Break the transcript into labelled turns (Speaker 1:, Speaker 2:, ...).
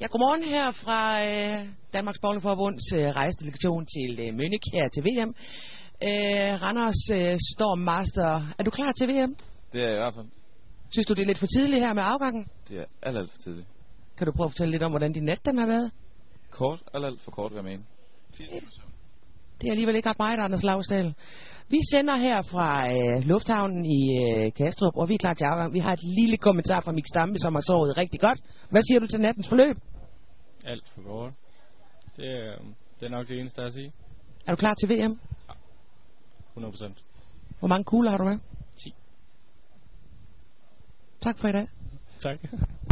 Speaker 1: Ja, godmorgen her fra øh, Danmarks Bowlingforbunds øh, rejsdelegation til øh, Münich her til VM. Øh, Randers øh, Storm Master, er du klar til VM?
Speaker 2: Det er jeg i hvert fald.
Speaker 1: Synes du, det er lidt for tidligt her med afgangen?
Speaker 2: Det er alt, alt for tidligt.
Speaker 1: Kan du prøve at fortælle lidt om, hvordan din nat den har været?
Speaker 2: Kort, alt, alt for kort, vil jeg mene.
Speaker 1: Det er alligevel ikke ret meget, Anders Lavsdal. Vi sender her fra øh, lufthavnen i øh, Kastrup, og vi er klar til afgang. Vi har et lille kommentar fra Mik Stampe, som har sovet rigtig godt. Hvad siger du til nattens forløb?
Speaker 3: Alt for kort. Det, er, øhm, det er nok det eneste, der er at sige.
Speaker 1: Er du klar til VM?
Speaker 3: 100 procent.
Speaker 1: Hvor mange kugler har du med?
Speaker 3: 10.
Speaker 1: Tak for i dag.
Speaker 3: Tak.